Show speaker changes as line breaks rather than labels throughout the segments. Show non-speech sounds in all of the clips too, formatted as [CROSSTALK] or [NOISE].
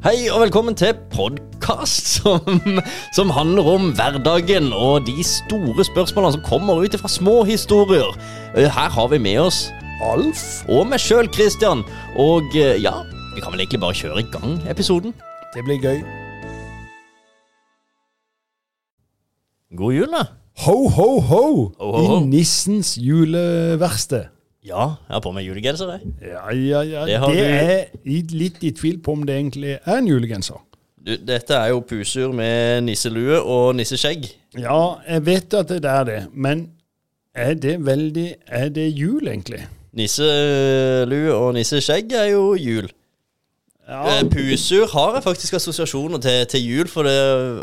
Hei og velkommen til podkast som, som handler om hverdagen og de store spørsmålene som kommer ut fra små historier. Eh, Her har vi med oss Alf og meg sjøl, Christian. Og eh, ja, vi kan vel egentlig bare kjøre i gang episoden.
Det blir gøy.
God jul, da.
Ho, ho, ho!
Ho, ho, ho.
I nissens juleverksted.
Ja, jeg har på meg julegenser, jeg.
Ja, ja, ja.
Det
Det,
har
er i- litt i tvil på om det egentlig er en julegenser.
Du, dette er jo pusur med nisselue og nisseskjegg.
Ja, jeg vet at det er det, men er det veldig Er det jul, egentlig?
Nisselue og nisseskjegg er jo jul.
Ja,
Eh, Pusur har jeg faktisk assosiasjoner til, til jul, for det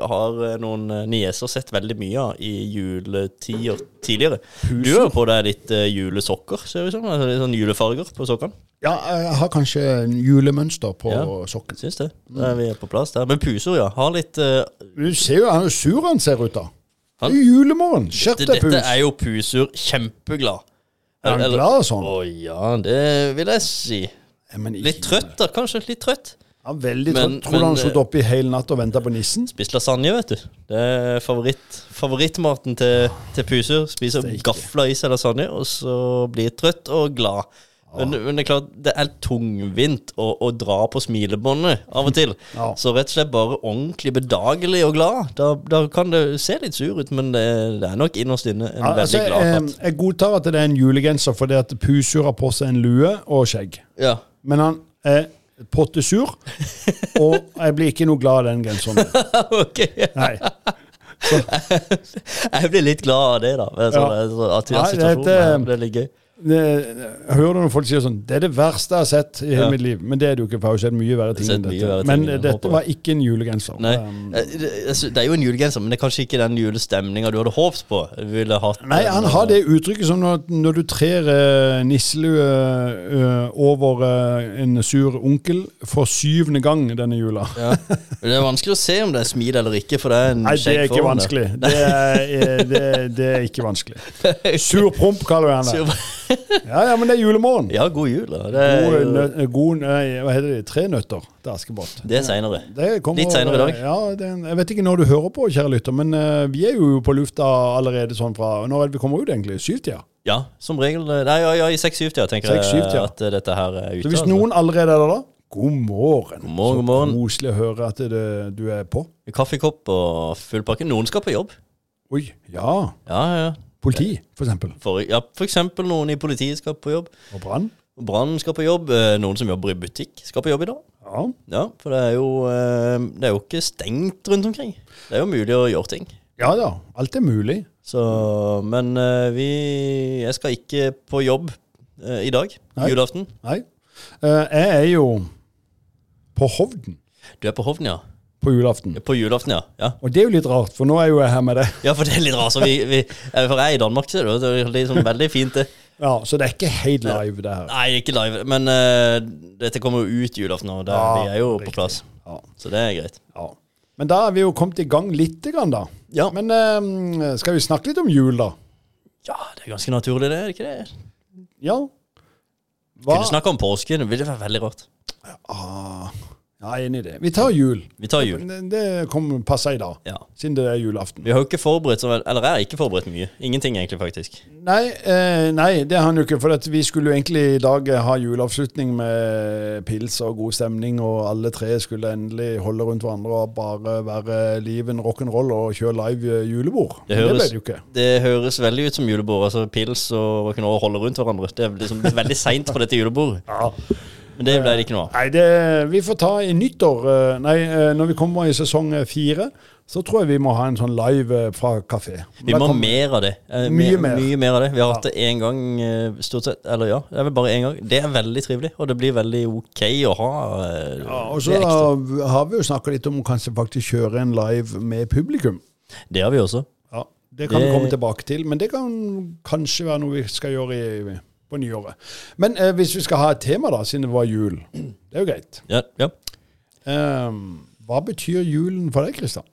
har eh, noen eh, nieser sett veldig mye av i juletider tidligere. Du har jo på deg litt eh, julesokker, ser det ut som. Altså, litt sånn julefarger på sokkene.
ja jeg har kanskje en julemønster på
Ja.
sokken.
Syns det.
Mm.
Da er vi på plass der. Men Pusur, ja. Har litt eh,
Du ser jo hvor sur han ser ut, da. Det
Han-
er jo julemorgen. Skjerp
det,
deg,
Dette
Pus.
er jo Pusur kjempeglad.
Er han
Eller-
glad og
Å
sånn?
ja, det vil jeg si.
Ja, men ikke-
Litt trøtt, da. Kanskje litt trøtt.
Ja, veldig
Men-
trøtt. Tror du
men,
han
eh,
satt oppe i hele natt og venta på nissen?
Spist lasagne, vet du. Det er favoritt, favorittmaten til, til puser. Spiser
Steike.
gafler i seg lasagne, og så blir trøtt og glad. Men, men det er klart, det er tungvint å, å dra på smilebåndet av og til.
[LAUGHS] Ja.
Så rett og slett bare ordentlig bedagelig og glad. Da, da kan det se litt sur ut, men det, det er nok innerst inne en
Ja,
veldig
altså,
glad
jeg,
katt.
jeg godtar at det er en julegenser fordi at Pusur har på seg en lue og skjegg.
Ja. [LAUGHS]
Men han er pottesur, og jeg blir ikke noe glad av den genseren.
ok.
Nei.
Jeg blir litt glad av det, da. Så,
Ja.
så, at
Nei,
situasjonen
dette-
er- det er litt gøy.
Det, jeg hører når folk sier sånn Det er det verste jeg har sett i hele
Ja.
mitt liv. Men det er det jo ikke, for jeg har jo sett mye verre ting
Jeg har sett
enn
mye
dette.
verre ting,
Men
jeg håper
eh, dette var ikke en julegenser.
Nei,
Um,
eh, det, altså, det er jo en julegenser, men det er kanskje ikke den julestemninga du hadde håpet på. Du ville hatt
Nei, han har det uttrykket som når, når du trer eh, nisselue eh, over eh, en sur onkel for syvende gang denne jula.
Ja. Men Det er vanskelig å se om det er smil eller ikke, for det er en
Nei, det er
skjegg foran
ikke
der.
vanskelig. Det er, eh, det, det er ikke vanskelig.
[LAUGHS]
Surpromp kaller vi den. der. [LAUGHS] Ja, ja, men det er julemorgen.
Ja, god jul, da. Det er,
God,
jo-
nø- god nei, Hva heter det? Tre nøtter til Askepott.
det er seinere.
Det kommer-
Litt senere i dag.
Ja, det, er en- jeg vet ikke når du hører på, kjære lytter, men eh, vi er jo på lufta allerede sånn fra Når er det vi kommer ut, egentlig? Syvtida?
Ja, som regel Nei, ja, ja i 6-7-tida tenker jeg
Seks-syvtida.
at eh, dette her er ute.
Så hvis
altså.
noen allerede er der da, god morgen.
God morgen, god morgen.
Så koselig å høre at det, du er på.
Altså, Kaffekopp og full pakke. Noen skal på jobb.
Oi, ja.
Ja, ja.
Politi, for eksempel.
For, ja, for eksempel noen i politiet skal på jobb.
Og brann.
Brannen skal på jobb. eh, Noen som jobber i butikk, skal på jobb i dag.
Ja.
Ja, for det er jo, eh, det er jo ikke stengt rundt omkring. Det er jo mulig å gjøre ting.
ja ja, alt er mulig.
Så, men eh, vi Jeg skal ikke på jobb eh, i dag,
Nei.
julaften.
Nei. Eh, jeg er jo på Hovden
Du er på Hovden, ja?
på julaften.
På julaften, ja. Ja,
Og det er jo litt rart, for nå er jo jeg her med deg.
ja for det er litt rart. så Vi, vi, eh, for jeg er i Danmark, ser du. Det er liksom veldig fint, det.
Ja, Så det er ikke helt live, det her.
Nei, ikke live, men eh, dette kommer jo ut julaften, og der,
Ja,
vi er jo
riktig.
på plass.
Ja,
Så det er greit.
ja. Men da er vi jo kommet i gang lite grann, da.
Ja.
Men eh, skal vi snakke litt om jul, da?
Ja, det er ganske naturlig, det. er det ikke det?
Ja. Hva?
Kunne snakke om påsken. Det ville vært veldig rart.
Ah, ja, jeg er enig i det. Vi tar jul.
Vi tar jul.
Det, det kom- passer i dag,
Ja.
siden det er julaften.
Vi har jo ikke forberedt så vel- Eller jeg har ikke forberedt mye. Ingenting, egentlig, faktisk.
Nei, eh, nei, det har han jo ikke. For at vi skulle jo egentlig i dag eh, ha juleavslutning med pils og god stemning, og alle tre skulle endelig holde rundt hverandre og bare være liven rock'n'roll og kjøre live eh, julebord.
Det
Men
høres-
det ble det jo ikke.
Det høres veldig ut som julebord. altså Pils og rock'n'roll holder rundt hverandre. Det er liksom veldig seint på dette julebordet. Men det ble det ikke noe av.
Nei, det, vi får ta i nyttår eh, Nei, eh, når vi kommer i sesong eh, fire, så tror jeg vi må ha en sånn live eh, fra kafé.
Vi må ha mer av det. Eh,
Mye
me-
mer.
Mye mer av det. Vi har hatt det én gang, eh, stort sett. Eller ja, det er vel bare én gang. Det er veldig trivelig, og det blir veldig ok å ha. eh,
Ja, og
det
så
er ekstra.
har vi jo snakka litt om å kanskje faktisk kjøre en live med publikum.
Det har vi også.
Ja, Det kan vi
Det-
komme tilbake til, men det kan kanskje være noe vi skal gjøre i, på nyåret. Men eh, hvis vi skal ha et tema, da, siden det var jul. Det er jo greit.
Ja, ja.
Ehm, hva betyr julen for deg, Kristian?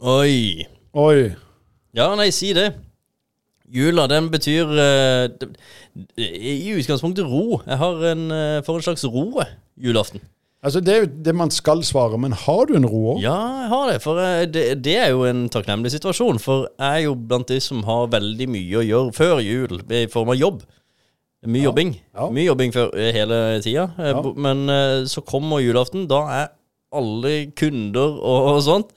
Oi.
Oi.
Ja, nei, si det. Jula, den betyr eh, det- I utgangspunktet ro. Jeg har en, eh, får en slags ro eh, julaften.
Altså, det er jo det man skal svare, men har du en roer?
Ja, jeg har det. For eh, det, det er jo en takknemlig situasjon. For jeg er jo blant de som har veldig mye å gjøre før jul, i form av jobb. Mye jobbing.
ja.
Mye jobbing før, eh, hele tida. Eh,
Ja.
bo- Men eh, så kommer julaften. Da er alle kunder og, og sånt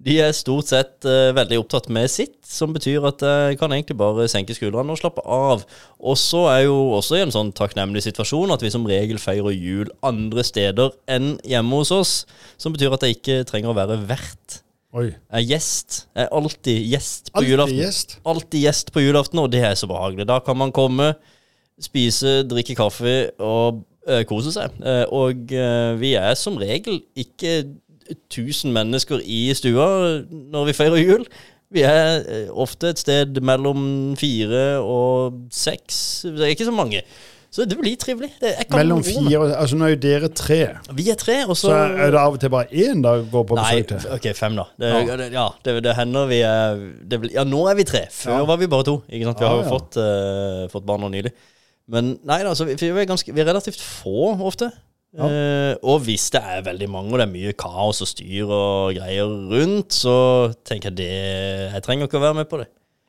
De er stort sett eh, veldig opptatt med sitt, som betyr at jeg kan egentlig bare senke skuldrene og slappe av. Og så er jo også i en sånn takknemlig situasjon at vi som regel feirer jul andre steder enn hjemme hos oss. Som betyr at jeg ikke trenger å være vert.
Oi.
Jeg er gjest. Jeg er alltid gjest på
Alltid
julaften.
gjest.
Alltid gjest på julaften, og det er så behagelig. Da kan man komme, spise, drikke kaffe og eh, kose seg. Eh, og eh, vi er som regel ikke 1000 mennesker i stua når vi feirer jul. Vi er eh, ofte et sted mellom fire og seks. Det er ikke så mange. Så det blir trivelig. Det, jeg kan
Mellom
roe meg.
fire og Altså, nå er jo dere tre.
Vi er tre, og så
Så er det av og til bare én dag går på
Nei,
besøk til.
ok, fem da. Det,
Ja.
ja, det, ja, det, det hender vi er det, blir- Ja, nå er vi tre. Før
Ja.
var vi bare to. Ikke sant? Vi
Ja,
har jo
ja.
fått, eh, fått barn nå nylig. Men nei da, så vi, vi, er ganske, vi er relativt få ofte.
Ja.
Eh, og hvis det er veldig mange, og det er mye kaos og styr og greier rundt, så tenker jeg det Jeg trenger ikke å være med på det.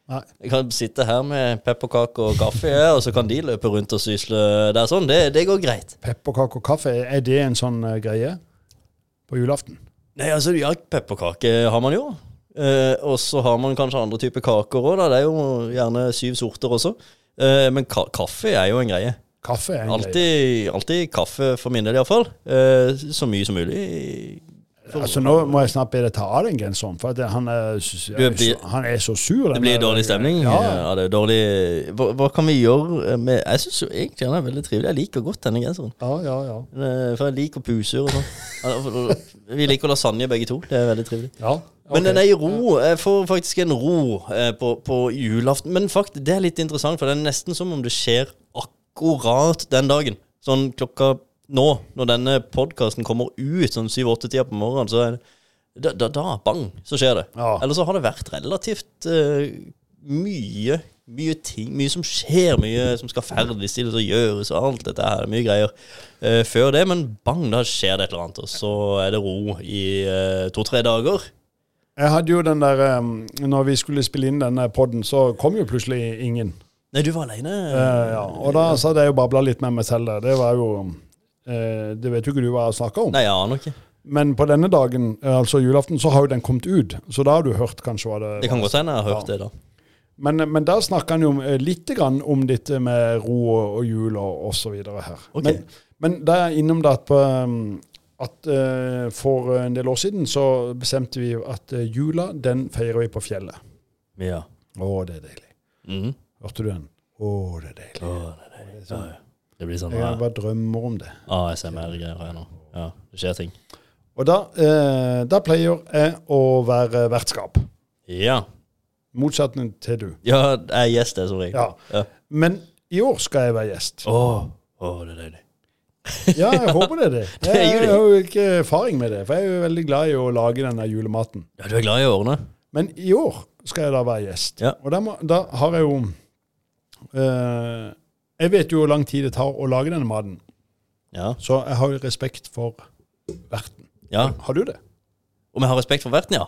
Nei.
Jeg kan sitte her med pepperkake og kaffe, ja, og så kan de løpe rundt og sysle der sånn. Det, det går greit.
Pepperkake og kaffe, er det en sånn eh, greie på julaften?
Nei, altså, ja, pepperkake har man jo. Eh, og så har man kanskje andre typer kaker òg, da. Det er jo gjerne syv sorter også. Eh, men ka kaffe er jo en greie.
Kaffe er en greie.
Alltid, alltid kaffe, for min del iallfall. Eh, så mye som mulig.
Altså, nå må jeg snart be deg ta av den genseren, for at det- han er, s-
Du blir-
han er så sur.
Det blir dårlig stemning. eh, Ja, det er dårlig hva, hva kan vi gjøre eh, med Jeg syns jo egentlig han er veldig trivelig. Jeg liker godt denne genseren.
Ja, ja, ja.
Eh, For jeg liker puser [LAUGHS] og sånn. Ja, for- Vi liker lasagne begge to. Det er veldig trivelig.
ja
Men
ok.
den er i ro. Jeg får faktisk en ro eh, på, på julaften. Men faktisk, det er litt interessant, for det er nesten som om det skjer akkurat den dagen. Sånn klokka nå, når denne podkasten kommer ut sånn syv-åtte-tida på morgenen, så er det da, da, da, bang, så skjer det.
Ja.
Eller så har det vært relativt eh, mye mye ting, mye som skjer, mye som skal ferdigstilles og gjøres og alt dette her. Mye greier eh, før det, men bang, da skjer det et eller annet, og så er det ro i eh, to-tre dager.
Jeg hadde jo den der um, Når vi skulle spille inn denne podden, så kom jo plutselig ingen.
Nei, du var aleine.
Eh, ja. Og da så hadde jeg jo babla litt med meg selv der. Det var jo eh, Det vet jo ikke du hva jeg snakker om.
Nei, jeg aner ikke.
Men på denne dagen, eh, altså julaften, så har jo den kommet ut. Så da har du hørt kanskje hva det
Det kan godt hende jeg har hørt det, da.
Men, men der snakker han jo om, eh, litt grann om dette med ro og, og jul og, og så videre her.
Ok.
Men, men da er jeg innom det at, på, um, at eh, for en del år siden så bestemte vi jo at eh, jula, den feirer vi på fjellet.
Ja.
Å, det er deilig.
Mhm.
Hørte du den? Å, det er deilig.
Å, det, er det. Ja, ja. det blir sånn
Jeg
ja.
bare drømmer om det.
ASMR-greier her nå. Ja, det skjer ting.
Og da, eh, da pleier jeg å være vertskap.
Ja.
Motsatt til du.
Ja, jeg er gjest, jeg, som regel.
Ja.
Ja.
Men i år skal jeg være gjest.
Å, å, det er deilig.
Ja, jeg håper det er det.
[LAUGHS] Det er jo
Jeg
det.
har jo ikke erfaring med det, for jeg er jo veldig glad i å lage denne julematen.
Ja, du er glad i årene?
Men i år skal jeg da være gjest.
Ja.
Og da, må, da har jeg jo eh, Jeg vet jo hvor lang tid det tar å lage denne maten,
Ja.
så jeg har jo respekt for verten.
ja.
Har du det?
Om jeg har respekt for verten, ja?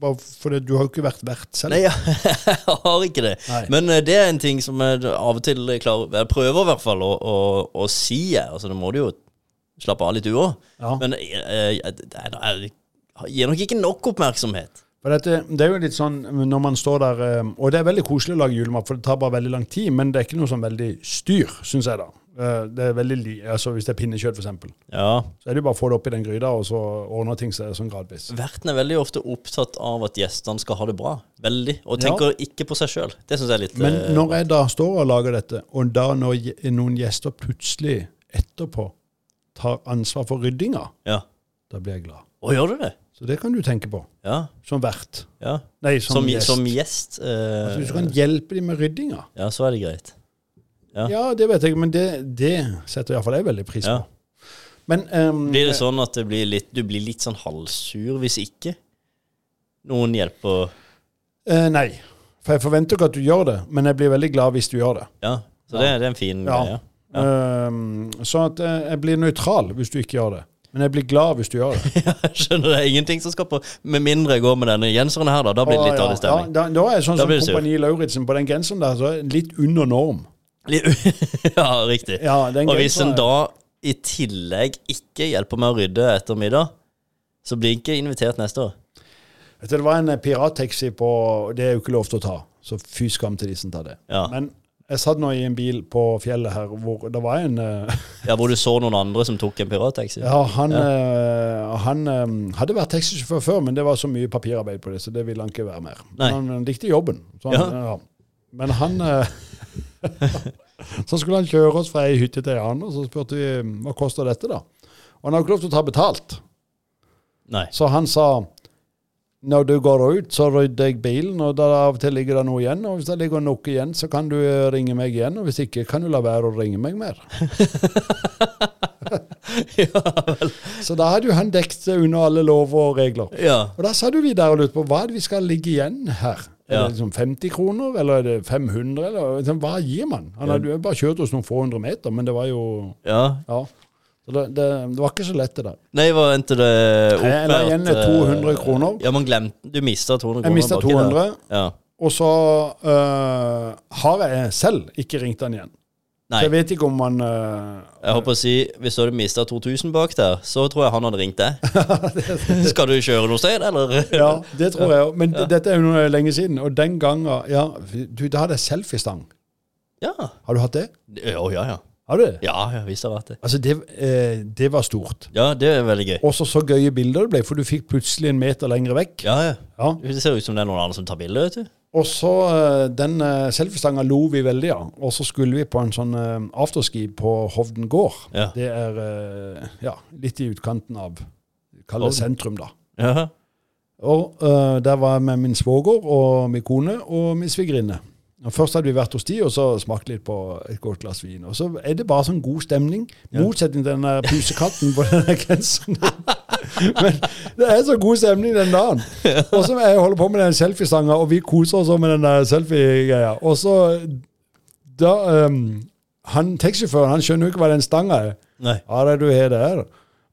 Bare fordi du har jo ikke vært vert selv.
Nei, [LAUGHS] jeg har ikke det.
Nei.
Men eh, det er en ting som jeg av og til klarer Jeg prøver i hvert fall å, å, å si, jeg. Altså, da må du jo slappe av litt, du òg.
Ja.
Men eh, jeg, jeg, jeg, jeg gir nok ikke nok oppmerksomhet.
For dette, det er jo litt sånn når man står der eh, Og det er veldig koselig å lage julemat, for det tar bare veldig lang tid, men det er ikke noe sånn veldig styr, syns jeg, da. Eh, Det er veldig li altså Hvis det er pinnekjøtt, f.eks.
Ja.
Så er det jo bare å få det opp i den gryta, og så ordner ting seg sånn gradvis.
Verten er veldig ofte opptatt av at gjestene skal ha det bra. Veldig. Og tenker ikke på seg sjøl. Det syns jeg er litt
Men
eh,
når jeg da står og lager dette, og da når je- noen gjester plutselig etterpå tar ansvar for ryddinga,
Ja.
da blir jeg glad.
Å, gjør du det?
Så det kan du tenke på.
Ja.
Som vert.
ja.
Nei, som,
Som, som
gjest.
gjest.
Altså,
eh,
Hvis du kan hjelpe dem med ryddinga.
Ja, så er det greit. Ja.
Ja, det vet jeg, men det, det setter iallfall jeg veldig pris på.
Ja.
Men ehm,
Blir det sånn at det blir litt, du blir litt sånn halvsur hvis ikke noen hjelper
eh, Nei. For jeg forventer ikke at du gjør det, men jeg blir veldig glad hvis du gjør det.
Ja, så det, det er en fin
Ja.
greie. [LAUGHS]
Ehm, sånn at eh, jeg blir nøytral hvis du ikke gjør det. Men jeg blir glad hvis du gjør det.
Jeg skjønner det er ingenting som skaper Med mindre jeg går med denne genseren her, da. Da blir det
Å,
litt
ja.
dårlig stemning.
Ja, da, da er jeg sånn
Da
som
blir du sur.
Kompani Lauritzen på den genseren der, så er den litt under norm.
[LAUGHS] ja, riktig.
Ja, den
Og hvis en
genseren er-
da i tillegg ikke hjelper meg å rydde etter middag, så blir jeg ikke invitert neste år.
Vet du, Det var en eh, pirattaxi på Det er jo ikke lov til å ta, så fy skam til de som tar det.
Ja.
Men jeg satt nå i en bil på fjellet her hvor det var en eh,
Ja, Hvor du så noen andre som tok en pirattaxi.
Ja, han, eh, han eh, hadde vært taxisjåfør før, men det var så mye papirarbeid på det, så det ville han ikke være mer. Men
Nei.
Han likte jobben. Så han,
Ja.
ja. Men han eh, [LAUGHS] Så skulle han kjøre oss fra ei hytte til ei annen, og så spurte vi eh, hva koster dette, da? Og han har jo ikke lov til å ta betalt,
Nei. [LAUGHS]
så han sa når du går ut, så rydder jeg bilen, og da av og til ligger det noe igjen. Og hvis det ligger noe igjen, så kan du eh, ringe meg igjen, og hvis ikke kan du la være å ringe meg mer.
ja vel.
Så da hadde jo han dekket seg under alle lover og regler.
Ja.
Og da sa du vi der og lurte på hva er det vi skal ligge igjen her? Er
Ja.
det liksom 50 kroner, eller er det 500? Eller, liksom, hva gir man? Han hadde jo bare kjørt oss noen få hundre meter, men det var jo
ja.
Ja. Så det, det, det var ikke så lett, det der.
Nei, hva endte det opp
Jeg
med?
la igjen
at, eh,
200 kroner.
Ja, man glemte Du mista 200 kroner.
Jeg mista
baki der.
200,
Ja.
og så øh, har jeg selv ikke ringt han igjen.
Nei.
Så jeg vet ikke om han øh,
Jeg
[LAUGHS]
håper å si, Hvis du hadde mista 2000 bak der, så tror jeg han hadde ringt deg. [LAUGHS] Skal du kjøre noe sted, eller?
Ja, det tror jeg òg. Men d- dette er jo noe lenge siden, og den gangen Ja, du, da hadde jeg selfiestang.
[LAUGHS] Ja.
Har du hatt det?
Å, ja, ja.
Har du det?
Ja, ja, visst har jeg vært det.
Altså, det, eh, det var stort.
Ja, det er veldig gøy.
Også så gøye bilder det ble, for du fikk plutselig en meter lenger vekk.
Ja, ja.
Ja.
Det ser ut som det er noen andre som tar bilde, vet du.
Og så eh, den eh, selfiestanga lo vi veldig av. Og så skulle vi på en sånn eh, afterski på Hovden gård.
Ja.
Det er eh, ja, litt i utkanten av Kall det
Hovden.
sentrum, da.
Ja.
Og eh, der var jeg med min svoger og min kone og min svigerinne. Og Først hadde vi vært hos de, og så smakt litt på et godt glass vin. Og så er det bare sånn god stemning. Motsetning til den der pusekatten på den der genseren. [LAUGHS] Men det er så god stemning den dagen. Og så jeg holder på med den selfiestanga, og vi koser oss også med den der selfie-greia. Og så da eh, han, Taxisjåføren han skjønner jo ikke hva den stanga er.
Nei.
Ja, det du har der.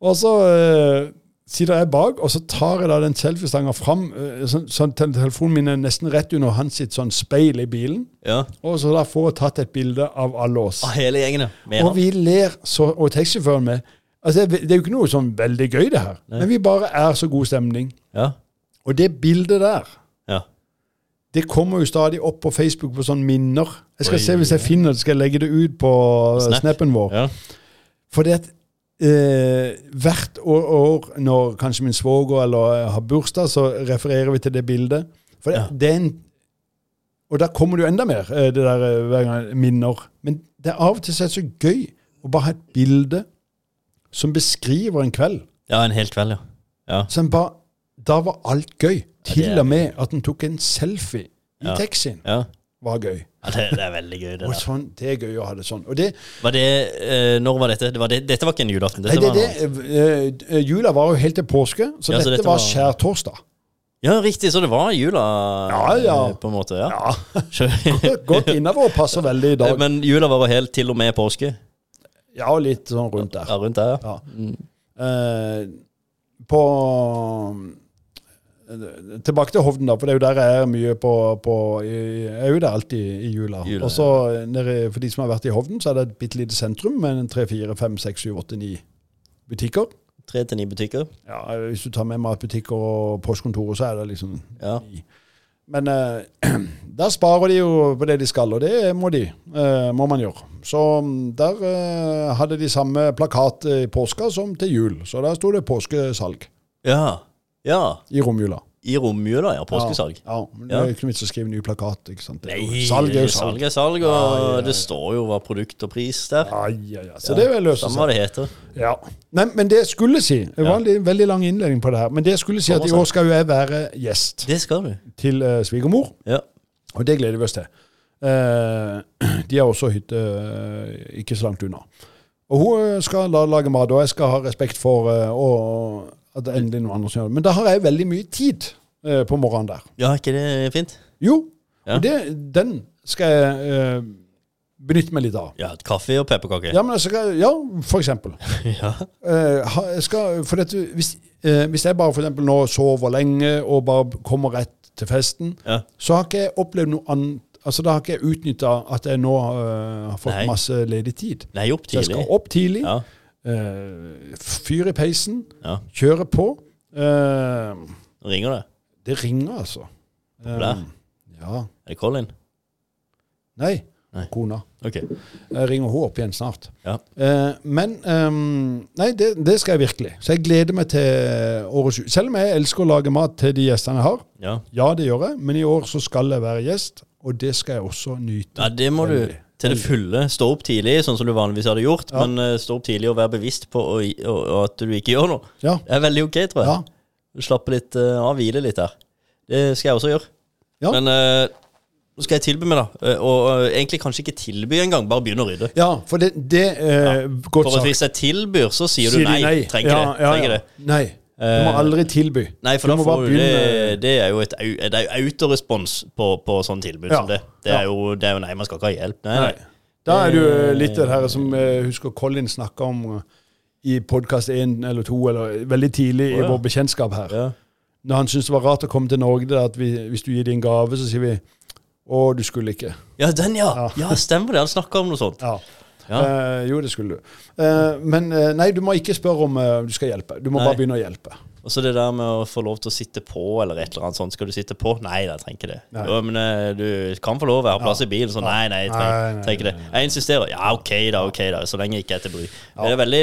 Og så eh, sitter jeg bak, og så tar jeg da den selfiestanga fram. Eh, sånn sånn tel- telefonen min er nesten rett under hans sitt sånn speil i bilen.
Ja.
Og så da får jeg tatt et bilde av alle oss.
Og hele gjengen, ja. Med
Og
han.
vi ler, så, og taxisjåføren med. Altså, det det er jo ikke noe sånn veldig gøy, det her. Men vi bare er så god stemning.
Ja.
Og det bildet der,
ja.
det kommer jo stadig opp på Facebook på sånne minner. Jeg skal
Oi.
se hvis jeg finner det, skal jeg legge det ut på eh,
Snap.
snappen vår.
ja.
Fordi at eh, hvert år, år når kanskje min svoger eller jeg har bursdag, så refererer vi til det bildet. For det,
Ja.
det er en Og da kommer det jo enda mer, eh, det der eh, hver gang minner. Men det er av og til så, er det så gøy å bare ha et bilde som beskriver en kveld.
ja, en hel kveld, ja. Ja.
Så en bare Da var alt gøy. Til
er-
og med at en tok en selfie i
Ja.
taxien,
ja.
var gøy.
ja det, det er veldig gøy, det
Og
der.
sånn, Det er gøy å ha det sånn. Og det,
Var det, eh, når var dette? Det var det, dette var ikke en julaften?
nei,
Dette
det,
var en annen.
det, eh, eh, jula var jo helt til påske, så,
Ja, så
dette,
dette var-
var skjærtorsdag.
Ja, riktig. Så det var jula,
Ja, ja.
eh, på en måte. Ja.
Ja, [LAUGHS]
[LAUGHS] Skjø-
Godt innover og passer veldig i dag.
Men jula var helt til og med påske.
Ja, og litt sånn rundt der.
Ja, rundt der, ja. Mm.
Ja. Eh, på eh, Tilbake til Hovden, da, for det er jo der jeg er mye på, på Jeg er jo der alltid i jula.
Jula,
og så nede- For de som har vært i Hovden, så er det et bitte lite sentrum med en tre, fire, fem, seks, sju, åtte, ni butikker.
Tre til ni butikker.
Ja, Hvis du tar med matbutikker og postkontoret, så er det liksom
Ja.
ni. Men eh, [CLEARS THROAT] der sparer de jo på det de skal, og det må de, eh, må man gjøre. Så mm, der eh, hadde de samme plakat eh, i påska som til jul, så der sto det påskesalg
Ja. ja.
i romjula.
I romjula, ja. Påskesalg.
Ja, ja, men det
Ja.
er ikke noe vits å skrive ny plakat, ikke sant. Det er jo-
Nei,
salg er jo salg.
salg er salg, og
Ja, ja, ja.
det står jo hva produkt og pris der.
Ja, ja, ja. Så det vil løse
Samme
seg.
hva det heter.
Ja. Nei, men det jeg skulle si, det var en li- veldig lang innledning på det her, men det jeg skulle si at i år skal jo jeg være gjest
Det skal du.
til eh, svigermor.
Ja.
Og det gleder vi oss til. Eh, [CLEARS THROAT] de har også hytte eh, ikke så langt unna. Og hun eh, skal la, lage mat, og jeg skal ha respekt for eh, og, at det er endelig noen andre som gjør det. Men da har jeg veldig mye tid eh, på morgenen der.
Ja, er ikke det fint?
Jo,
Ja.
og det, den skal jeg eh, benytte meg litt av.
Ja, et Kaffe og pepperkaker.
Ja, men altså, ja, for eksempel.
[LAUGHS] Ja.
Eh, ha- jeg skal, for dette, hvis, eh, hvis jeg bare for eksempel nå sover lenge og bare kommer rett til festen,
Ja.
så har ikke jeg opplevd noe annet Altså, Da har ikke jeg utnytta at jeg nå eh, har fått
Nei.
masse ledig tid.
Nei, opp
Så jeg
tidlig.
skal opp tidlig,
Ja.
eh, fyr i peisen,
ja.
kjøre på. Eh,
Nå ringer det.
det ringer, altså. Eh,
Populær.
ja.
Er det Colin?
Nei,
Nei.
kona.
Ok.
Jeg ringer hun opp igjen snart.
Ja.
Eh, men ehm, Nei, det, det skal jeg virkelig. Så jeg gleder meg til årets jul. Selv om jeg elsker å lage mat til de gjestene jeg har.
Ja.
Ja, det gjør jeg. Men i år så skal jeg være gjest, og det skal jeg også nyte.
ja, det må du
Veldig.
til det fulle. Stå opp tidlig, sånn som du vanligvis hadde gjort,
Ja.
men eh, stå opp tidlig og være bevisst på å, å, å, at du ikke gjør noe.
Ja.
Det er veldig ok, tror jeg.
ja.
Slappe litt eh, av, hvile litt der. Det skal jeg også gjøre.
Ja.
Men eh, nå skal jeg tilby meg, da. Eh, og eh, egentlig kanskje ikke tilby engang, bare begynne å rydde.
Ja, for det, det eh, Godt
For at
sagt.
hvis jeg tilbyr, så sier du
Sier de
nei. Trenger
ja,
det.
Ja,
Trenger
ja.
det.
Nei. Du må
Eh,
aldri tilby.
Nei, for da
Du må
får
bare
du det,
begynne-
det er jo et au- det er jo autorespons på, på sånn tilbud
Ja.
som det. Det
Ja.
er, jo, det er jo nei, man skal ikke ha hjelp. Nei, nei.
Da er du eh, litt det her som eh, husker Colin snakka om eh, i podkast 1 eller 2, eller veldig
Å,
tidlig
ja.
i vår bekjentskap her.
Ja.
Når han syntes det var rart å komme til Norge, det er at vi, hvis du gir din gave, så sier vi å, du skulle ikke.
ja, den, ja.
Ja.
Ja, stemmer det. Han snakka om noe sånt.
Ja.
Ja.
Eh, jo, det skulle du. Eh, men eh, nei, du må ikke spørre om eh, du skal hjelpe. Du må
Nei.
bare begynne å hjelpe.
Og så det der med å få lov til å sitte på eller et eller annet sånt. Skal du sitte på? Nei, jeg trenger ikke det.
Nei.
Jo, men eh, du kan få lov, jeg har plass i bilen. Så nei, nei, jeg
Nei,
trenger,
nei,
trenger ikke det. Jeg insisterer. Ja, OK da, ok da. Så lenge jeg ikke er til bry. Det er veldig,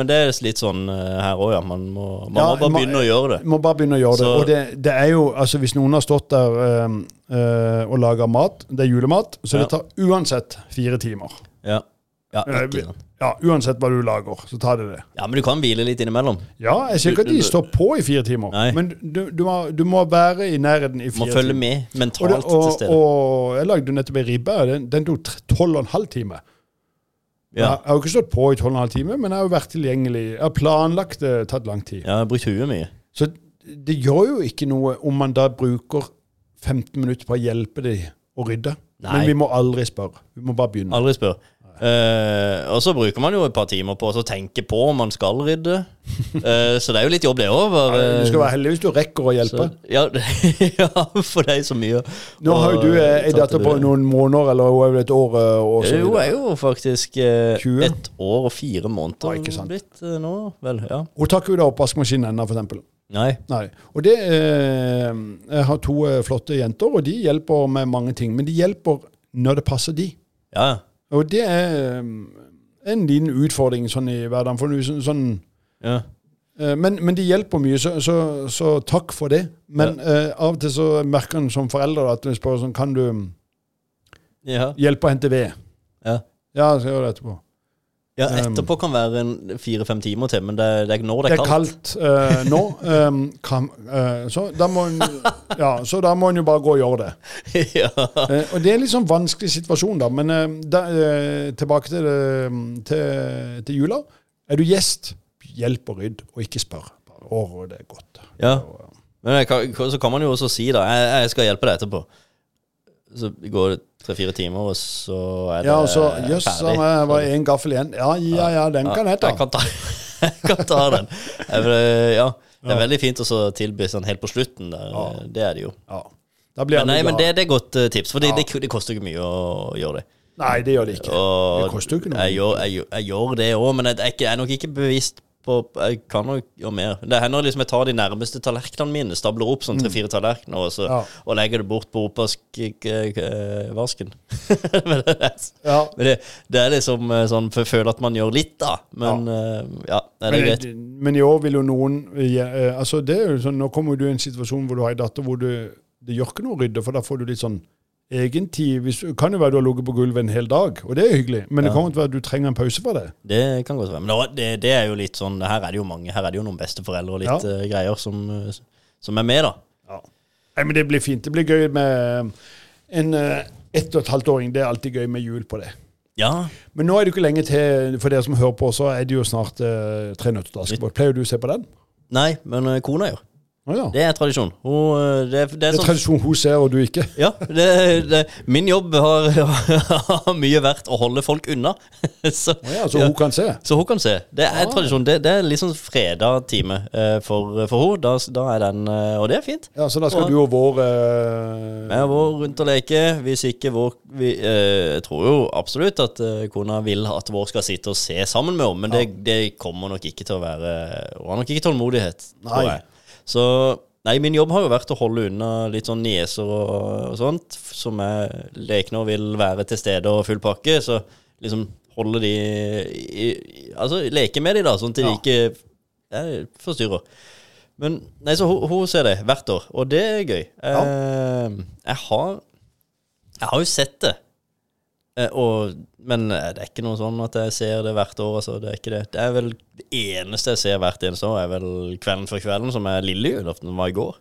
men det er litt sånn eh, her òg, ja. Man må, man
Ja,
må bare
ma-
begynne å gjøre det.
Du må bare begynne å gjøre det.
Så-
Og det, det er jo, altså Hvis noen har stått der eh, eh, og laga mat, det er julemat, så det
Ja.
tar uansett fire timer.
Ja. Ja,
Eh,
ikke sant.
Ja, Uansett hva du lager, så tar det det.
ja, men du kan hvile litt innimellom.
Ja, jeg sier ikke at de står på i fire timer,
Nei.
men du, du, må, du må være i nærheten i
Du må
fire
følge
timer.
med
Og, det,
mentalt til
og,
stede.
og jeg lagde jo nettopp ei ribbe. og Den, den tok tre- tolv og en halv time. Jeg
Ja.
har- jeg har jo ikke stått på i tolv og en halv time, men jeg har jo vært tilgjengelig. Jeg har planlagt det, tatt lang tid.
ja, jeg har brukt huet mye.
Så det gjør jo ikke noe om man da bruker 15 minutter på å hjelpe de å rydde.
Nei.
Men vi må aldri spørre. Vi må bare begynne.
Aldri spør. Eh, og så bruker man jo et par timer på å så tenke på om man skal rydde.
[LAUGHS]
Eh, så det er jo litt jobb, det òg.
Du skal være heldig hvis du rekker å hjelpe.
Ja, [LAUGHS] ja, for det er så mye.
Nå har jo du eh, ei
Og-
datter på noen måneder, eller hun er vel et år eh, og så
Jo,
videre.
jeg er jo faktisk eh,
20.
ett år og fire måneder
Ja, ikke sant.
blitt eh, nå, vel. Ja.
Hun tar ikke ut av oppvaskmaskinen ennå, for eksempel.
Nei.
Nei. Og det eh, Jeg har to eh, flotte jenter, og de hjelper med mange ting. Men de hjelper når det passer de.
Ja,
Og det er eh, en liten utfordring sånn i hverdagen. For nå, sånn, sånn,
ja.
eh, men, men de hjelper mye, så, så, så takk for det. Men eh, av og til så merker en som forelder at en spør sånn Kan du
Ja.
hjelpe å hente ved?
ja.
Ja, så gjør jeg det etterpå.
ja, etterpå kan være en fire-fem timer til, men det, er- det er når
Ehm. Det er kaldt eh, nå. [LAUGHS] eh, kan, eh, så, da må en, ja, så da må en jo bare gå og gjøre det.
[LAUGHS] ja.
Eh, og Det er en litt sånn vanskelig situasjon, da. Men eh, da, eh, tilbake til, det, mm, til, til jula. Er du gjest, hjelp og rydd, og ikke spør. Bare, Å, det er godt.
Ja. Men jeg kan, så kan man jo også si, da Jeg, jeg skal hjelpe deg etterpå. Så går det tre-fire timer, og så er det
Ja, og så Jøss, det var én gaffel igjen. Ja, ja, eh, ja, den kan jeg ta.
Jeg kan ta, [LAUGHS] jeg kan ta den. Jeg vil, Ja. Det er veldig fint å så tilby sånn helt på slutten. Der. Det er det jo.
Ja. Da blir
Men, nei,
alle
men
glade.
det, det er godt eh, tips, for det, det, det koster jo ikke mye å gjøre det.
Nei, det gjør det ikke.
Og
Det koster jo ikke noe.
Jeg gjør, jeg, gjør- jeg gjør det òg, men jeg, jeg, er ikke- jeg er nok ikke bevisst på Jeg kan nok gjøre mer. Det hender liksom jeg tar de nærmeste tallerkenene mine, stabler opp sånn tre-fire tallerkener, og, så,
Ja.
og legger det bort på oppvaskvasken. [LAUGHS] men det, er-
Ja.
men det, det er liksom eh, sånn for jeg føler at man gjør litt, da. Men eh, ja, nei, det er greit.
Men, men i år vil jo noen ja, eh, altså det er jo sånn, Nå kommer du i en situasjon hvor du har ei datter hvor du, det gjør ikke noe å rydde, for da får du litt sånn egen tid. Hvis, det kan jo være du har ligget på gulvet en hel dag, og det er hyggelig, men det kommer til å være at du trenger en pause fra det.
Det kan godt være. Men da- det, det er jo litt sånn Her er det jo mange. Her er det jo noen besteforeldre og litt
Ja.
eh, greier som, eh, som er med, da.
Nei, men det blir fint. Det blir gøy med en eh, ett og et halvt åring. Det er alltid gøy med jul på det.
Ja.
Men nå er det jo ikke lenge til, for dere som hører på, så er det jo snart eh, Tre nøtter til Askepott. Pleier du å se på den?
Nei, men eh, kona gjør.
Å ja.
Det er tradisjon. Hun, eh, det, det
Det
er
er
sånn
tradisjon hun ser, og du ikke.
ja, det, det, min jobb har, [LAUGHS] har mye vært å holde folk unna. [LAUGHS] Så,
Å ja, så hun kan se.
så hun kan se. Det er
Ah.
tradisjon. Det, det er litt sånn fredag-time eh, for, for henne. Da, da er den eh, Og det er fint.
Ja, Så da skal
Og-
du og vår eh,
Vi har vært rundt og leke. Hvis ikke vår vi, eh, Jeg tror jo absolutt at eh, kona vil at vår skal sitte og se sammen med henne, men det, det kommer nok ikke til å være Hun har nok ikke tålmodighet, tror
Nei.
jeg. Så Nei, min jobb har jo vært å holde unna litt sånn nieser og, og sånt, som er lekne og vil være til stede og full pakke. Så liksom holde de i, i, Altså leke med de, da, sånn til
Ja.
de ikke jeg forstyrrer. Men Nei, så hun, hun ser det hvert år, og det er gøy. Eh, jeg har Jeg har jo sett det. Eh, og, men eh, det er ikke noe sånn at jeg ser det hvert år. Altså, det er ikke det. Det er vel det eneste jeg ser hvert eneste år, er vel Kvelden før kvelden, som er lille julaften, den var i går.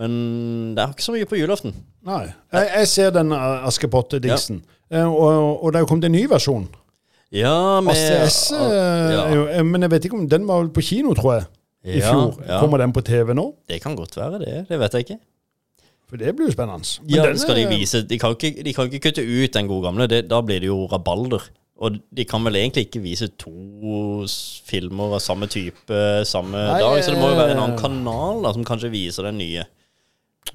Men det er ikke så mye på julaften.
Nei. Jeg, jeg ser den eh, Askepotte-dingsen. Eh, Og, og det er jo kommet en ny versjon.
Ja, med
Asse S. eh,
ja,
er jo- eh, Men jeg vet ikke om den var vel på kino, tror jeg. I
Ja,
fjor.
ja.
Kommer den på TV nå?
Det kan godt være, det. Det vet jeg ikke.
For det blir jo spennende. Men
Ja,
den
skal de
er-
vise De kan ikke, de kan ikke kutte ut den gode gamle. Det, da blir det jo rabalder. Og de kan vel egentlig ikke vise to s- filmer av samme type samme
Nei,
dag, så det må jo være en annen
eh,
kanal da som kanskje viser den nye.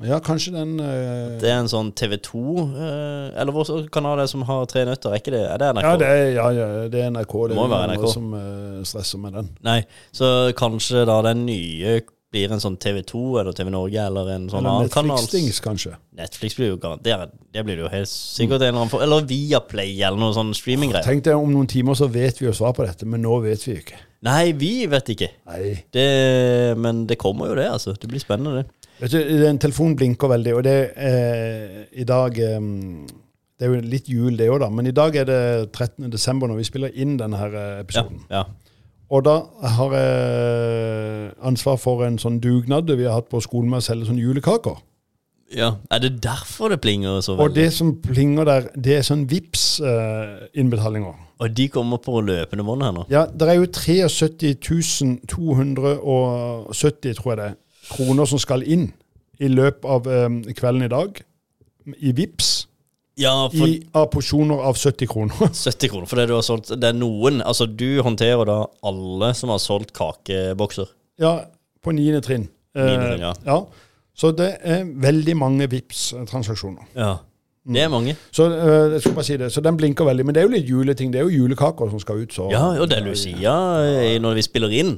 Ja, kanskje den eh,
Det er en sånn TV2 eh, Eller hva slags kanal er det som har tre nøtter? Er ikke det? Er det NRK?
Ja, det er, ja, ja, det er NRK. Det,
Må
er
være
noen
NRK.
som eh, stresser med den.
Nei, så kanskje da den nye blir en sånn TV2 eller TV Norge eller en sånn
Eller
annen kanal.
Netflix-dings, kanskje.
Netflix blir jo garantert Det blir det jo helt sikkert en eller annen form Eller Viaplay eller noe sånn streaminggreier.
Tenk deg om noen timer så vet vi jo svar på dette, men nå vet vi ikke.
Nei, vi vet ikke.
Nei.
Det, men det kommer jo det, altså. Det blir spennende, det.
Vet du, den telefonen blinker veldig, og det eh, i dag eh, Det er jo litt jul, det òg, da, men i dag er det 13. desember når vi spiller inn denne her eh,
Ja,
episoden.
ja.
Og da har jeg ansvar for en sånn dugnad vi har hatt på skolen med å selge sånne julekaker.
ja. Er det derfor det plinger så
Og
veldig?
det som plinger der, det er sånn vips eh, innbetalinger
Og de kommer på løpende bånd her nå.
Ja, det er jo 73 270, tror jeg det, er, kroner som skal inn i løpet av eh, kvelden i dag. I vips,
Ja, for
i, av porsjoner av 70 kroner. [LAUGHS]
70 kroner for det du har solgt. Det er noen Altså, du håndterer da alle som har solgt kakebokser.
ja, på niende trinn. Eh,
Niende trinn, ja.
Så det er veldig mange vips transaksjoner
Ja. Det er mange.
Så øh, jeg skulle bare si det. Så den blinker veldig. Men det er jo litt juleting. Det er jo julekaker som skal ut, så
Ja, og det er Lucia eh, når vi spiller inn.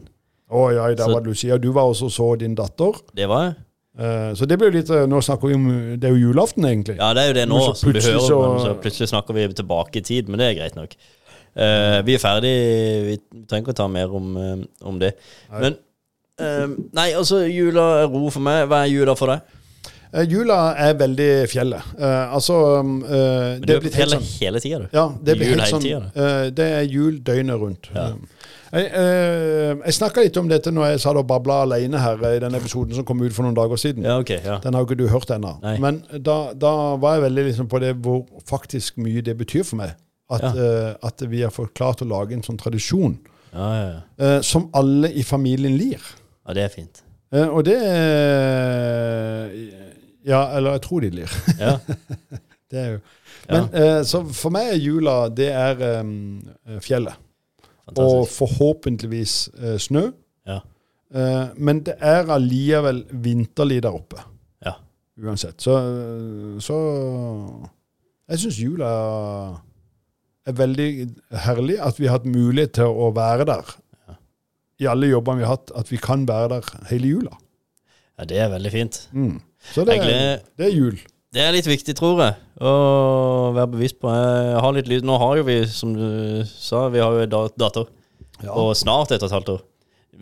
Å ja, der var det Lucia. Du var også så din datter.
Det var jeg.
Eh, så det blir jo litt øh, Nå snakker vi om Det er jo julaften, egentlig.
Ja, det er jo det nå,
Men så
som du
plutselig
hører.
så-
men Så plutselig snakker vi tilbake i tid, men det er greit nok. Eh, vi er ferdig, vi trenger ikke å ta mer om, eh, om det. Men eh, Nei, altså, jula er ro for meg. Hva er jula for deg?
Eh, jula er veldig fjellet. Eh, altså um, eh,
Men
Det
du
er blitt helt
hele,
sånn
hele tida, du.
Ja, det blir
Jul
helt
hele
sånn
tiden,
eh, Det er jul døgnet rundt. Jeg, uh, jeg snakka litt om dette når jeg satt og babla alene her eh, i den episoden som kom ut for noen dager siden.
Ja, ok. Ja.
Den har jo ikke du hørt ennå.
Nei.
Men da, da var jeg veldig liksom på det hvor faktisk mye det betyr for meg. At,
Ja.
eh, at vi har fått klart å lage en sånn tradisjon
Ja, ja, ja.
eh, som alle i familien lir.
ja, det er fint.
Eh, og det eh, Ja, eller jeg tror de lir.
Ja.
Det er jo.
Ja.
[LAUGHS] Men, eh, så for meg er jula det er eh, fjellet. Og
Fantastisk.
forhåpentligvis eh, snø.
Ja.
Eh, men det er allikevel vinterlig der oppe.
Ja.
uansett. Så, så jeg syns jula er veldig herlig. At vi har hatt mulighet til å være der i alle jobbene vi har hatt. At vi kan være der hele jula.
ja, det er veldig fint.
Mm. Så det
Jeg
er,
gleder
det er jul.
Det er litt viktig, tror jeg, å være bevisst på. Jeg har litt lyd. Nå har jo vi, som du sa, vi har jo en da- datter.
Ja.
Og snart et og et halvt år.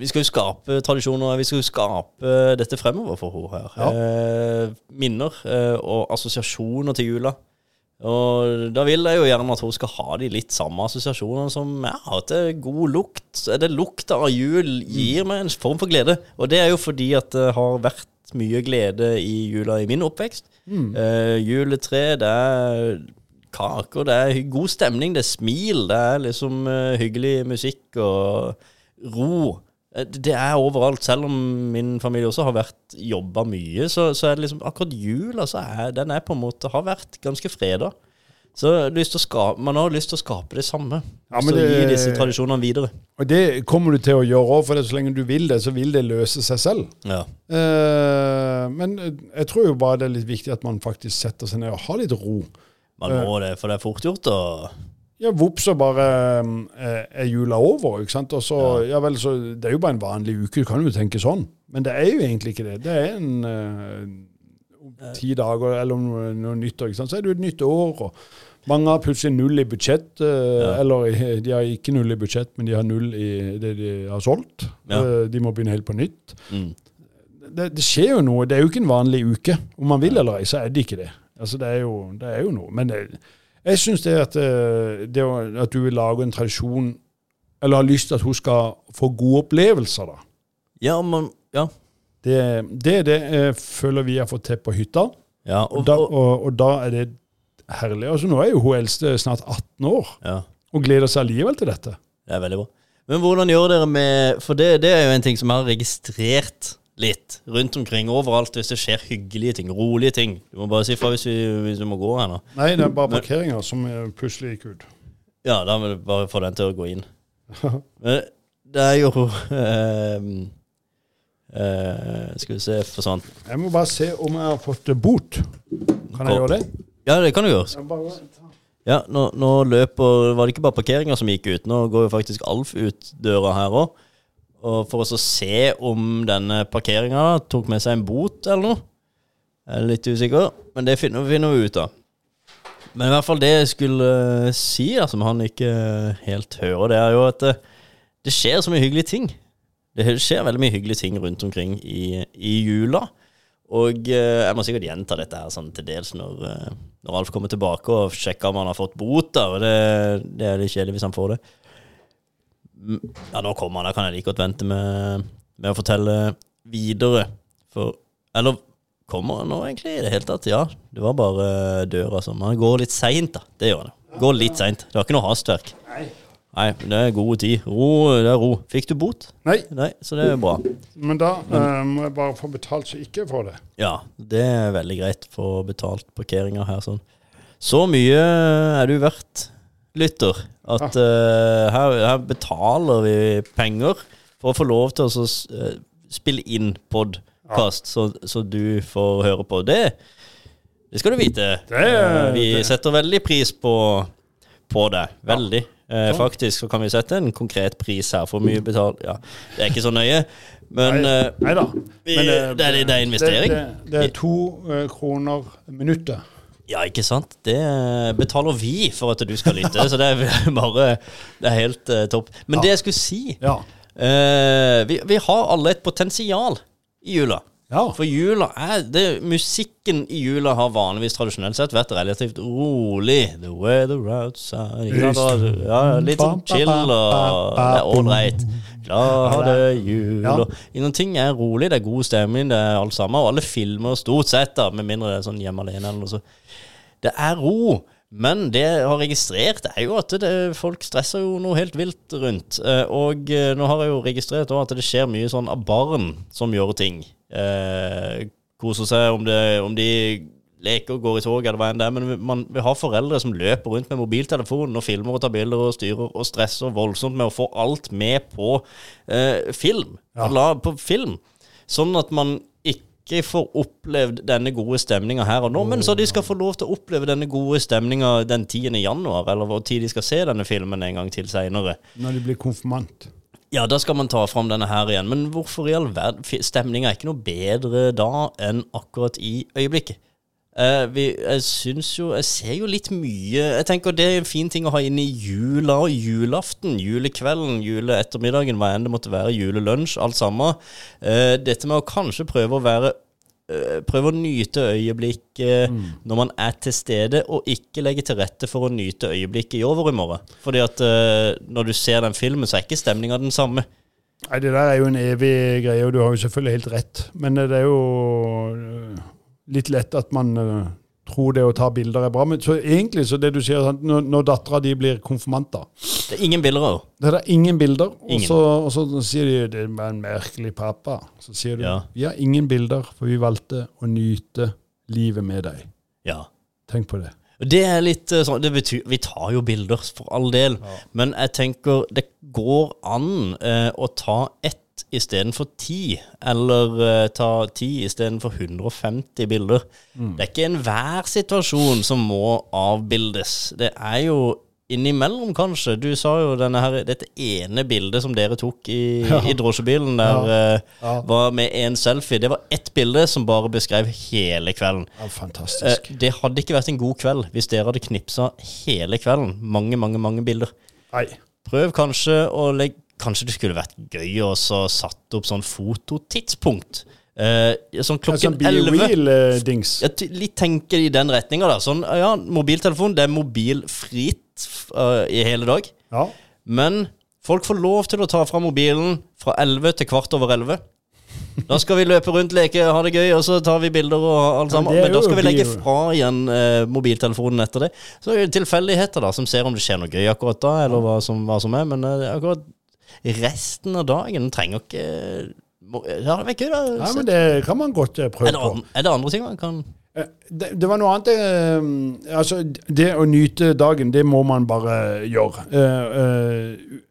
Vi skal jo skape tradisjoner, vi skal jo skape dette fremover for henne her. Eh, minner eh, og assosiasjoner til jula. Og da vil jeg jo gjerne at hun skal ha de litt samme assosiasjonene som jeg har til god lukt. Er Det lukta av jul gir meg en form for glede, og det er jo fordi at det har vært mye glede i jula i min oppvekst. Eh, juletre, det er kaker, det er hy- god stemning, det er smil, det er liksom eh, hyggelig musikk og ro. Eh, eh, Det er overalt. Selv om min familie også har vært jobba mye, så, så er det liksom akkurat jula så er, den er på en måte har vært ganske freda. Så jeg har lyst til å skape, man har lyst til å skape det samme.
Ja, men
så
det-
gi disse tradisjonene videre.
Og det kommer du til å gjøre òg, for det, så lenge du vil det, så vil det løse seg selv.
Ja.
Eh, men jeg tror jo bare det er litt viktig at man faktisk setter seg ned og har litt ro.
Man må det, for det er fort gjort å
Ja, vops, så bare eh, er jula over, ikke sant? Og så, ja. vel, så Det er jo bare en vanlig uke, du kan jo tenke sånn. Men det er jo egentlig ikke det. Det er en eh, om ti dager eller om noe- noe nytt år, ikke sant? så er det jo et nytt år. og mange har plutselig null i budsjett, eh,
Ja.
eller i- de har ikke null i budsjett, men de har null i det de har solgt.
Ja.
Eh, De må begynne helt på nytt.
mm.
Det, det skjer jo noe. Det er jo ikke en vanlig uke. Om man vil eller ei, så er det ikke det. Altså, det er jo, det er jo noe. Men det, jeg syns det at, eh, det å- at du vil lage en tradisjon, eller har lyst til at hun skal få gode opplevelser, da.
Ja, man, ja.
Det det er det jeg føler vi har fått til på hytta.
ja,
Og
og,
da,
og,
og, og da er det herlig. Altså, nå er jo hun eldste snart 18 år
ja.
og gleder seg allikevel til dette.
Det er veldig bra. Men hvordan gjør dere med For det, det er jo en ting som jeg har registrert litt rundt omkring overalt hvis det skjer hyggelige ting, rolige ting. Du må bare si fra hvis, vi- hvis du må gå her nå.
Nei, det er bare parkeringa som eh, plutselig gikk ut.
Ja, da må du bare få den til å gå inn. Men det er jo [LAUGHS] ehm, eh, Skal vi se forsvant.
Jeg må bare se om jeg har fått eh, bot. Kan jeg gjøre det?
Ja, det kan du gjøre.
Jeg bare...
Ja, nå, nå løper Var det ikke bare parkeringa som gikk ut? Nå går jo faktisk Alf ut døra her òg. Og for oss å se om denne parkeringa tok med seg en bot eller noe. Jeg er litt usikker, men det finner, finner vi ut av. Men i hvert fall det jeg skulle eh, si, da, som han ikke eh, helt hører, det er jo at eh, det skjer så mye hyggelige ting. Det he- skjer veldig mye hyggelige ting rundt omkring i, i jula. Og eh, jeg må sikkert gjenta dette her sånn til dels når, eh, når Alf kommer tilbake og sjekker om han har fått bot. Da, og det, det er litt kjedelig hvis han får det. Mm, Ja, nå kommer han. Da kan jeg like godt vente med, med å fortelle videre. For Eller kommer han nå, egentlig? I det hele tatt? Ja. Det var bare døra som Han går litt seint, da. Det gjør han. Går litt seint. Det var ikke noe hastverk. Nei, men det er god tid. Ro, det er ro. Fikk du bot?
Nei,
Nei, så det er bra.
men da eh, må jeg bare få betalt så ikke jeg får det.
Ja, det er veldig greit for betalt parkeringa her. Sånn. Så mye eh, er du verdt, lytter, at
Ah.
eh, her, her betaler vi penger for å få lov til å s- eh, spille inn podkast,
Ah.
så, så du får høre på det. Det skal du vite.
er-
Eh, vi
det-
setter veldig pris på, på det. Veldig. Eh, faktisk så kan vi sette en konkret pris her for hvor mye betalt ja. Det er ikke så nøye, men eh,
Mm. Nei da.
vi- det er- det er investering.
Det, det, det er to eh, kroner minuttet.
Ja, ikke sant? Det betaler vi for at du skal lytte, så det er [LAUGHS] bare Det er helt eh, topp. Men det jeg skulle si
Ja.
eh, vi, vi har alle et potensial i jula.
ja.
For jula er det, Musikken i jula har vanligvis tradisjonelt sett vært relativt rolig. The weather outside ikke sant? Og- ja, Litt sånn chill og det er ålreit. Glade jul
Ja.
og Noen ting er rolig, det er god stemning, det er alt sammen. Og alle filmer stort sett, da, med mindre det er sånn hjemme alene eller noe så. Det er ro. Men det jeg har registrert, er jo at det, folk stresser jo noe helt vilt rundt. Eh, og eh, nå har jeg jo registrert også at det skjer mye sånn av barn som gjør ting. Eh, koser seg om, det, om de leker og går i tog eller hva enn det er. Men vi- man, vi har foreldre som løper rundt med mobiltelefonen og filmer og tar bilder og styrer og stresser voldsomt med å få alt med på eh, film. La, på film. Sånn at man ikke får opplevd denne gode stemninga her og nå, men så de skal få lov til å oppleve denne gode stemninga den 10. januar, eller hvor tid de skal se denne filmen en gang til seinere.
Når de blir konfirmant.
Ja, da skal man ta fram denne her igjen, men hvorfor i all verden fi- Stemninga er ikke noe bedre da enn akkurat i øyeblikket. Eh, vi, jeg syns jo Jeg ser jo litt mye Jeg tenker det er en fin ting å ha inn i jula og julaften. Julekvelden, juleettermiddagen, hva enn det måtte være. Julelunsj, alt sammen. Eh, dette med å kanskje prøve å være eh, Prøve å nyte øyeblikket eh, når man er til stede, og ikke legge til rette for å nyte øyeblikket i overmorgen. Fordi at eh, når du ser den filmen, så er ikke stemninga den samme.
Nei, det der er jo en evig greie, og du har jo selvfølgelig helt rett. Men eh, det er jo eh, litt lett at man eh, tror det å ta bilder er bra. Men så egentlig så det du sier, sant, når, når dattera di blir konfirmant, da.
Det er ingen bilder av
Det er da ingen bilder. Og
Ingen.
så, og så sier de det er en merkelig pappa. Så sier du
Ja.
vi har ingen bilder, for vi valgte å nyte livet med deg.
Ja.
Tenk på det.
Og Det er litt eh, sånn det betyr, Vi tar jo bilder, for all del, men jeg tenker det går an eh, å ta ett istedenfor ti, eller eh, ta ti istedenfor 150 bilder.
Mm.
Det er ikke enhver situasjon som må avbildes. Det er jo innimellom, kanskje. Du sa jo denne her, dette ene bildet som dere tok i,
[LAUGHS]
i drosjebilen, der eh,
Ja.
var med én selfie. Det var ett bilde som bare beskrev hele kvelden.
Ja,
Eh,
fantastisk.
Det hadde ikke vært en god kveld hvis dere hadde knipsa hele kvelden. Mange, mange, mange bilder.
Nei.
Prøv kanskje å legge Kanskje det skulle vært gøy å så satt opp sånn fototidspunkt. Eh, sånn
En
klokken
sånn
elleve.
BeWheel-dings.
Ja, ty- litt tenker i den retninga, da. Sånn, ja, mobiltelefon, det er mobilfritt f- eh, i hele dag.
Ja.
Men folk får lov til å ta fra mobilen fra 11 til kvart over 11. Da skal vi løpe rundt, leke, ha det gøy, og så tar vi bilder og alt
Ja,
sammen.
men det er
Men da
jo
skal vi legge
bio.
fra igjen eh, mobiltelefonen etter det. Så er det tilfeldigheter, da, som ser om det skjer noe gøy akkurat da, eller hva som, hva som er. Men eh, akkurat resten av dagen trenger ikke må, Ja, det vært gøy, da.
Nei, men det kan man godt eh, prøve
er, det
på.
an, er det andre ting man kan
Eh, Det, det var noe annet eh, Altså, det å nyte dagen, det må man bare gjøre. Eh, eh,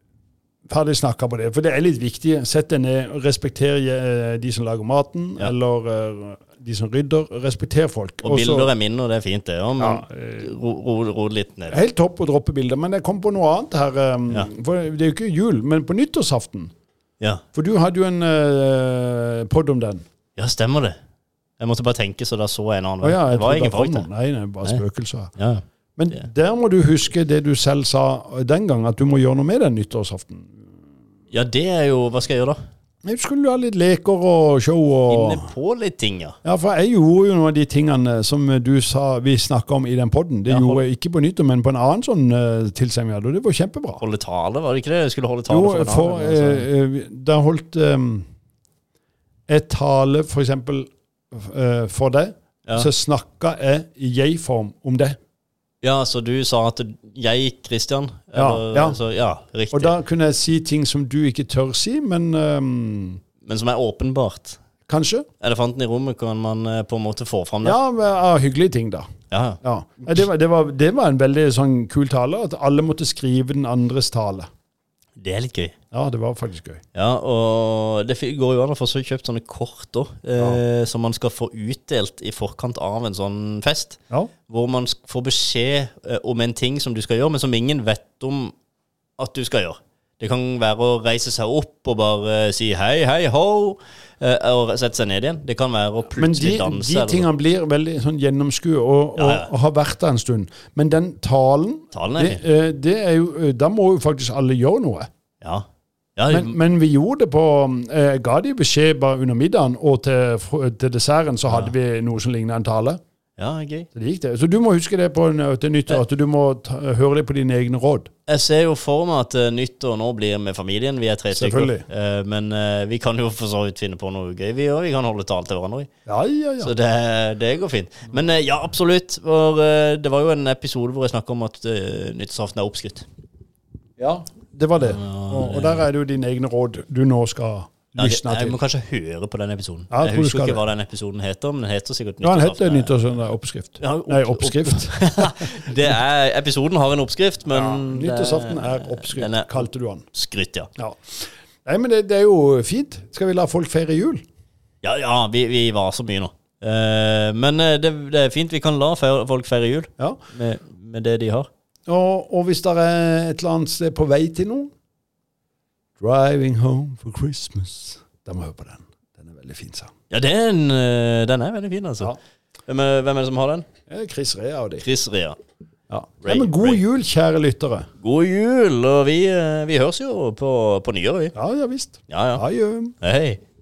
ferdig snakka på det. For det er litt viktig. Sett deg ned, respekter eh, de som lager maten,
Ja.
eller eh, de som rydder. Respekter folk.
Og
Også-
bilder er mine, og det er fint, det. Ja, men
Ja, eh,
ro, ro, ro litt ned.
Helt topp å droppe bilder, men jeg kom på noe annet her. eh,
Ja.
For det er jo ikke jul, men på nyttårsaften.
Ja.
For du hadde jo en eh, pod om den.
ja, stemmer det. Jeg måtte bare tenke, så da så jeg en annen
Å ja,
det
jeg
var
trodde
ingen
det var
folk der.
noen. Nei, nei, bare
Nei.
spøkelser.
Ja.
Men
Det-
der må du huske det du selv sa den gang, at du må gjøre noe med den nyttårsaften.
ja, det er jo Hva skal jeg gjøre da?
Nei, Skulle du ha litt leker og show og
Inne på litt ting, ja.
Ja, for jeg gjorde jo noen av de tingene som du sa vi snakka om i den poden. Det
Ja, hold-
gjorde jeg ikke på nyttår, men på en annen sånn uh, tilsending vi hadde, og det var kjempebra.
Holde tale, var det ikke det? Jeg skulle holde tale
Jo,
for en
for
annen, altså.
eh, eh, da holdt eh, jeg tale for eksempel eh, for deg,
Ja.
så snakka jeg i jeg-form om det.
ja, så du sa at jeg, Christian
Ja,
eller-
ja.
Altså, ja, riktig.
Og da kunne jeg si ting som du ikke tør si, men eh,
Men som er åpenbart.
kanskje.
Elefanten i rommet kan man eh, på en måte få fram det.
Ja, men, ja, hyggelige ting, da.
Ja.
Ja. Nei, Det, var, det, var, det var en veldig sånn kul tale, at alle måtte skrive den andres tale.
Det er litt gøy.
Ja, det var faktisk gøy.
Ja, og det fi- går jo an å få så kjøpt sånne kort òg, eh, som man skal få utdelt i forkant av en sånn fest.
Ja,
Hvor man sk- får beskjed eh, om en ting som du skal gjøre, men som ingen vet om at du skal gjøre. Det kan være å reise seg opp og bare eh, si hei, hei, ho, eh, og sette seg ned igjen. Det kan være å
Men de,
plutselig danse.
de
eller noe.
tingene blir veldig sånn gjennomskuet, og, og,
Ja, ja.
og har vært der en stund. Men den talen,
Talen er
det, eh, det er jo, eh, da må jo faktisk alle gjøre noe.
Ja. ja
Men, men vi gjorde det på eh, Jeg ga de beskjed bare under middagen, og til, fro- til desserten så hadde vi noe som lignet en tale.
ja, gøy.
Så det gikk det. Så du må huske det på, en- til nyttår, at du må ta, høre det på dine egne råd.
Jeg ser jo for meg at eh, nyttår nå blir med familien. Vi er tre stykker.
Selvfølgelig.
Eh, men eh, vi kan jo for så vidt finne på noe gøy, vi òg. Vi kan holde tale til hverandre. vi.
Ja, ja, ja.
Så det, det går fint. Men eh, ja, absolutt. For, eh, det var jo en episode hvor jeg snakka om at eh, nyttårsaften er oppskrytt.
Ja, det var det. Og, og der er det jo dine egne råd du nå skal
Ja, det-
lysne
Jeg må
til.
kanskje høre på den episoden.
Ja, jeg
jeg
tror du
husker
skal
ikke hva den episoden heter, men den heter sikkert
Ja, han heter
Nyttårsaften.
eh, nyttårsoppskrift.
Ja, opp-
Nei, oppskrift.
Det er, episoden har en oppskrift, men
Ja,
det
[LAUGHS] nyttårsaften er
den
oppskrift,
er-
kalte du han.
skryt, ja.
Ja. Nei, men det, det er jo fint. Skal vi la folk feire jul?
Ja, ja, vi, vi var så mye nå. Eh, men eh, det, det er fint. Vi kan la feir, folk feire jul
Ja.
med, med det de har.
Og, og hvis det er et eller annet sted på vei til noe Driving home for Christmas. Da må vi høre på den. Den er veldig fin sang.
Ja, det er en, eh, den er veldig fin, altså.
Ja.
Hvem, er, hvem er det som har den?
Eh, Chris Rea og de.
Chris Rea.
Ja.
Ray,
Nei, men god
Ray.
jul, kjære lyttere.
God jul, og vi, eh, vi høres jo på, på nyåret, vi.
Ja, ja visst.
Ja, ja.
Adjø.
Hei.